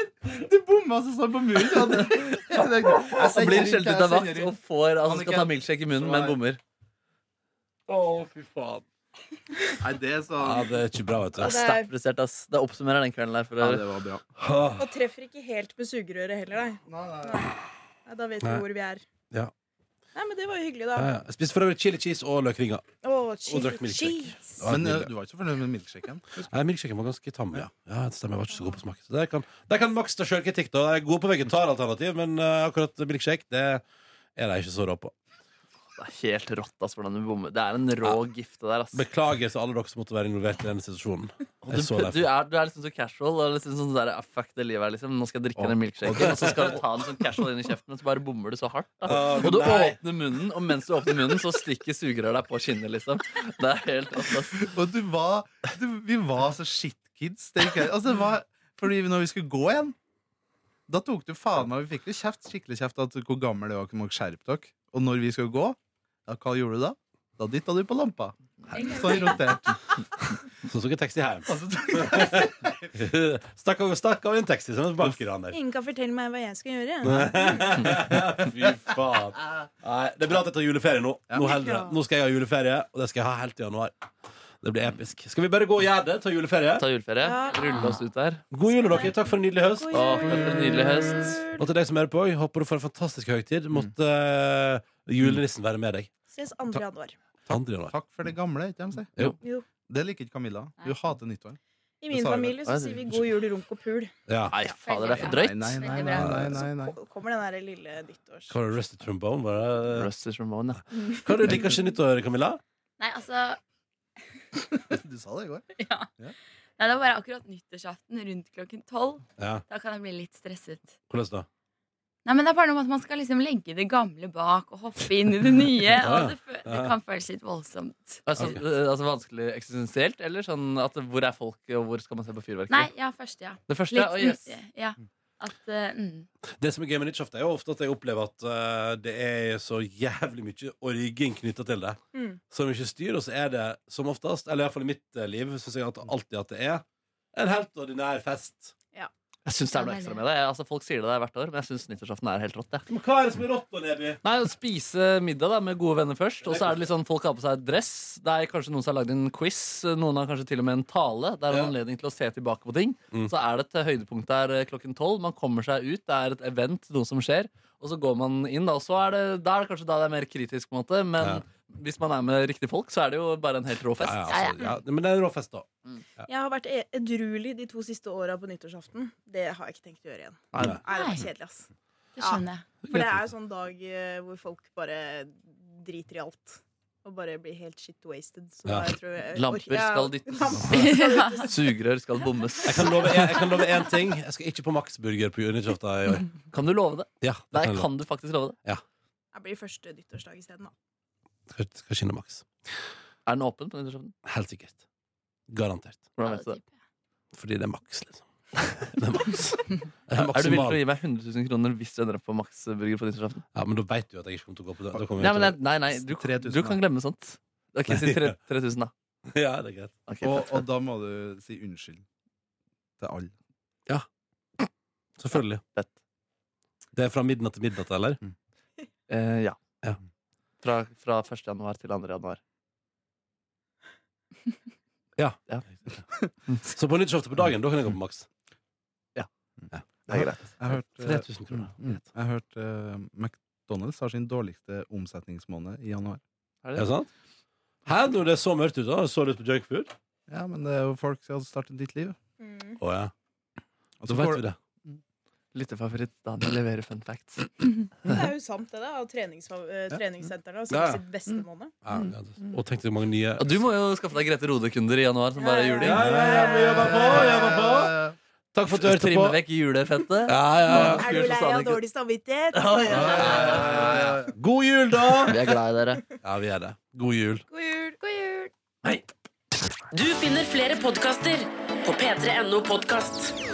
S5: Du bommer altså sånn på muren. Og det, det, jeg
S1: Han blir skjelt ut av
S5: jeg
S1: vakt
S5: sender
S1: og
S5: inn.
S1: får, altså,
S5: Anniken.
S1: skal ta milkshake i munnen, men bommer.
S2: Å, fy faen.
S5: Nei, det er
S2: Ja,
S5: sånn
S2: det er ikke bra, vet
S1: Det er
S2: du.
S1: sterkt prestert, ass. Det oppsummerer den kvelden der. For
S5: Ja,
S1: øvrig.
S5: det var bra.
S2: Ah.
S6: Og treffer ikke helt med sugerøret heller, nei. Nei, Da vet vi
S2: Nei.
S6: hvor vi er.
S2: Ja.
S6: Nei, men det var jo hyggelig,
S2: Ja,
S6: da.
S2: ja. Jeg spiste for øvrig chili cheese og løkringer.
S6: Å,
S2: Og drakk
S6: cheese.
S2: milkshake.
S6: cheese.
S2: Ja,
S5: Men eh,
S2: nydelig.
S5: du var ikke så fornøyd med milkshaken?
S2: Nei, Milkshaken var ganske tam. eh, Ja. ja, det stemmer. Jeg var ikke så god på smak. Så Der kan, der kan Max ta sjølkritikk. da. Jeg er god på vegetaralternativ, men eh, akkurat milkshake det er jeg ikke så rå på.
S1: Det er helt rått, ass, hvordan du bommer. Det er en rå gift, det der, ass.
S2: Beklager til alle dere som måtte være involvert i denne situasjonen.
S1: Og
S2: Jeg
S1: Du,
S2: så
S1: du,
S2: det. for-
S1: er, du er liksom så casual. Og liksom sånn der, ah, fuck det livet her, liksom. Nå skal jeg drikke den milkshaken, og så skal du ta den sånn casual inn i kjeften, men så bare bommer du så hardt. Da.
S2: Ah,
S1: Og du
S2: nei.
S1: åpner munnen, og mens du åpner munnen, så stikker sugerøret deg på kinnet, liksom. Det er helt rått, ass.
S5: Og du var du, Vi var så shitkids. Det gikk- Altså, det var, fordi når vi skulle gå igjen, da tok du faen meg Vi fikk jo kjeft, skikkelig kjeft at hvor gammel det var, kunne dere skjerpe dere. Og når vi skulle gå, ja, hva gjorde du da? Da dytta du på lampa. Sånn rotert.
S2: Så tok jeg taxi hjem.
S5: Altså,
S2: Stakk av stakk av en taxi som en bankeran der.
S6: Ingen kan fortelle meg hva jeg skal gjøre.
S2: Fy faen. Nei, det er bra at jeg tar juleferie nå. Nå, holder det. nå skal jeg ha juleferie, og det skal jeg ha helt til januar. Det blir episk. Skal vi bare gå og gjøre det? Ta juleferie?
S1: Ta juleferie.
S6: Ja.
S1: Rulle oss ut der.
S2: God jul, dere. Takk for en nydelig høst.
S6: God
S1: Å, for en nydelig høst.
S2: Og til deg som hører på, jeg håper du får en fantastisk høytid. Måtte eh, julenissen være med deg.
S6: Ses 2. januar.
S2: Andre januar.
S5: takk for det gamle, ikke sant?
S2: Jo.
S6: Jo.
S5: Det liker ikke Camilla. Hun hater nyttår.
S6: I min
S5: sa jeg
S6: familie så
S1: Nei, det-
S6: sier vi god jul, runk og pul.
S2: Ja.
S1: Nei, fader, det er for drøyt.
S5: Nei, nei,
S4: Veldig
S5: nei,
S4: bra.
S5: nei, nei, nei.
S6: Så kommer den der lille nyttårs...
S2: Hva var det, Rusty Trombone? Var det...
S1: Rusty Ramone, ja.
S2: Hva er det du liker ikke nyttår, Camilla?
S4: Nei, altså
S5: Du sa det i går.
S4: Nei, det var bare akkurat nyttårsaften rundt klokken tolv.
S2: Ja.
S4: Da kan jeg bli litt stresset.
S2: Hvordan da?
S4: Nei, men det er bare noe med at man skal liksom legge det gamle bak og hoppe inn i det nye. Og det, fø- det kan føles litt voldsomt.
S1: Altså,
S2: Ok.
S1: eh, altså vanskelig eksistensielt? Eller sånn at hvor er folket, og hvor skal man se på fyrverkeri?
S4: Nei, ja, først, ja.
S1: Det første
S4: Litt
S1: er yes.
S4: Ja. At, eh, mm.
S2: Det som er gøy med Nyttårsaften, er jo ofte at jeg opplever at eh, det er så jævlig mye orging knytta til det.
S6: Mm.
S2: Så mye styr, og så er det som oftest, eller iallfall i mitt eh, liv, syns jeg at alltid at det er en helt ordinær fest.
S1: Jeg syns det er noe ekstra med det. Jeg- Altså, folk sier det der hvert år, men jeg syns nyttårsaften er helt rått. jeg.
S2: Men hva er det som er rått da, Neby?
S1: Nei, å Spise middag da, med gode venner først, og så er det litt sånn folk har på seg dress. Det er kanskje noen som har lagd en quiz, noen har kanskje til og med en tale. Det er en
S2: Ja.
S1: anledning til å se tilbake på ting.
S2: Mm.
S1: Så er det et høydepunkt der eh, klokken tolv. Man kommer seg ut, det er et event, noe som skjer. Og så går man inn, da, og så er det, da er det kanskje da det er mer kritisk, på en måte. Men
S2: Ja.
S1: hvis man er med riktige folk, så er det jo bare en helt rå fest.
S2: Ja, ja, altså, ja, men det er en rå fest, da.
S6: Jeg har vært e- edruelig de to siste åra på nyttårsaften. Det har jeg ikke tenkt å gjøre igjen.
S1: Nei,
S6: Nei, det var
S4: Nei.
S6: kjedelig, ass.
S4: Det skjønner jeg.
S6: For det er jo sånn dag eh, hvor folk bare driter i alt. Og bare blir helt shit wasted. Så
S2: Ja.
S6: da jeg tror jeg,
S1: Lamper
S6: Ja,
S1: skal dyttes.
S6: lamper skal dyttes.
S1: Sugerør skal bommes.
S2: Jeg kan love, jeg, jeg kan love én ting. Jeg skal ikke på Max Burger på nyttårsaften i år.
S6: Mm.
S1: Kan du love det?
S2: Ja, det
S1: Nei,
S2: kan jeg love.
S1: kan du faktisk love det?
S6: Det blir første nyttårsdag isteden, da.
S2: Skal, skal skinne Max.
S1: Er den åpen? på nyttårsaften?
S2: Helt sikkert. Garantert.
S1: Hvordan
S4: Ja,
S1: vet du det?
S4: typ, ja.
S2: Fordi det er Max, liksom. Det er Max. Det er
S1: Er du villig
S2: maksimal.
S1: til å gi meg 100 000 kroner hvis du ender opp på Max Burger på nyttårsaften?
S2: Ja, men da veit du at jeg ikke kommer til å gå på det. Da kommer
S1: Nei,
S2: jeg
S1: men
S2: til å-
S1: jeg- nei, nei du,
S5: 3000
S1: du kan glemme sånt. Ok, Si tre- 3000, da.
S2: Ja, det er greit.
S1: Ok,
S5: Og,
S1: fett.
S5: og da må du si unnskyld til alle.
S2: Selvfølgelig.
S1: Fett.
S2: Det er fra midnatt til midnatt, eller?
S1: Eh, ja.
S2: Ja.
S1: Fra, fra 1. januar til 2. januar.
S2: Så på nyttårsaften på dagen, da kan jeg gå på maks.
S1: Det er greit.
S5: Jeg har hørt, eh,
S2: 3000 kroner.
S5: Mm, mm. jeg har hørt eh, McDonald's har sin dårligste omsetningsmåned i januar.
S1: Er
S2: Er det
S1: det?
S2: sant? Hæ, når det er så mørkt ute, da? så du ut på junkfood?
S5: Ja, men det er jo folk som har startet ditt liv.
S6: Mm.
S2: Å ja. Da
S5: Og så
S2: vet
S5: går-
S2: vi det.
S1: Lytterfavoritt Daniel leverer fun facts.
S6: Det er jo sant, det. da Og treningsfa- eh, treningssentrene har
S2: Ja.
S6: sikkert
S2: Mm.
S6: sitt beste måned.
S2: Ja, ja, det. Og tenk deg hvor mange nye
S1: Og du må jo skaffe deg Grete Rode-kunder i januar, som bare er juling.
S2: Ja, ja, ja, vi jobber på! vi Jobber på. Takk for at du hørte på.
S1: Trimme vekk julefettet.
S2: Ja, ja, ja.
S6: Er du lei av dårlig samvittighet?
S2: God jul, da!
S1: Vi er glad i dere.
S2: Ja, vi er det. God jul.
S4: God jul! God jul!
S7: Du finner flere podkaster på p3.no podkast.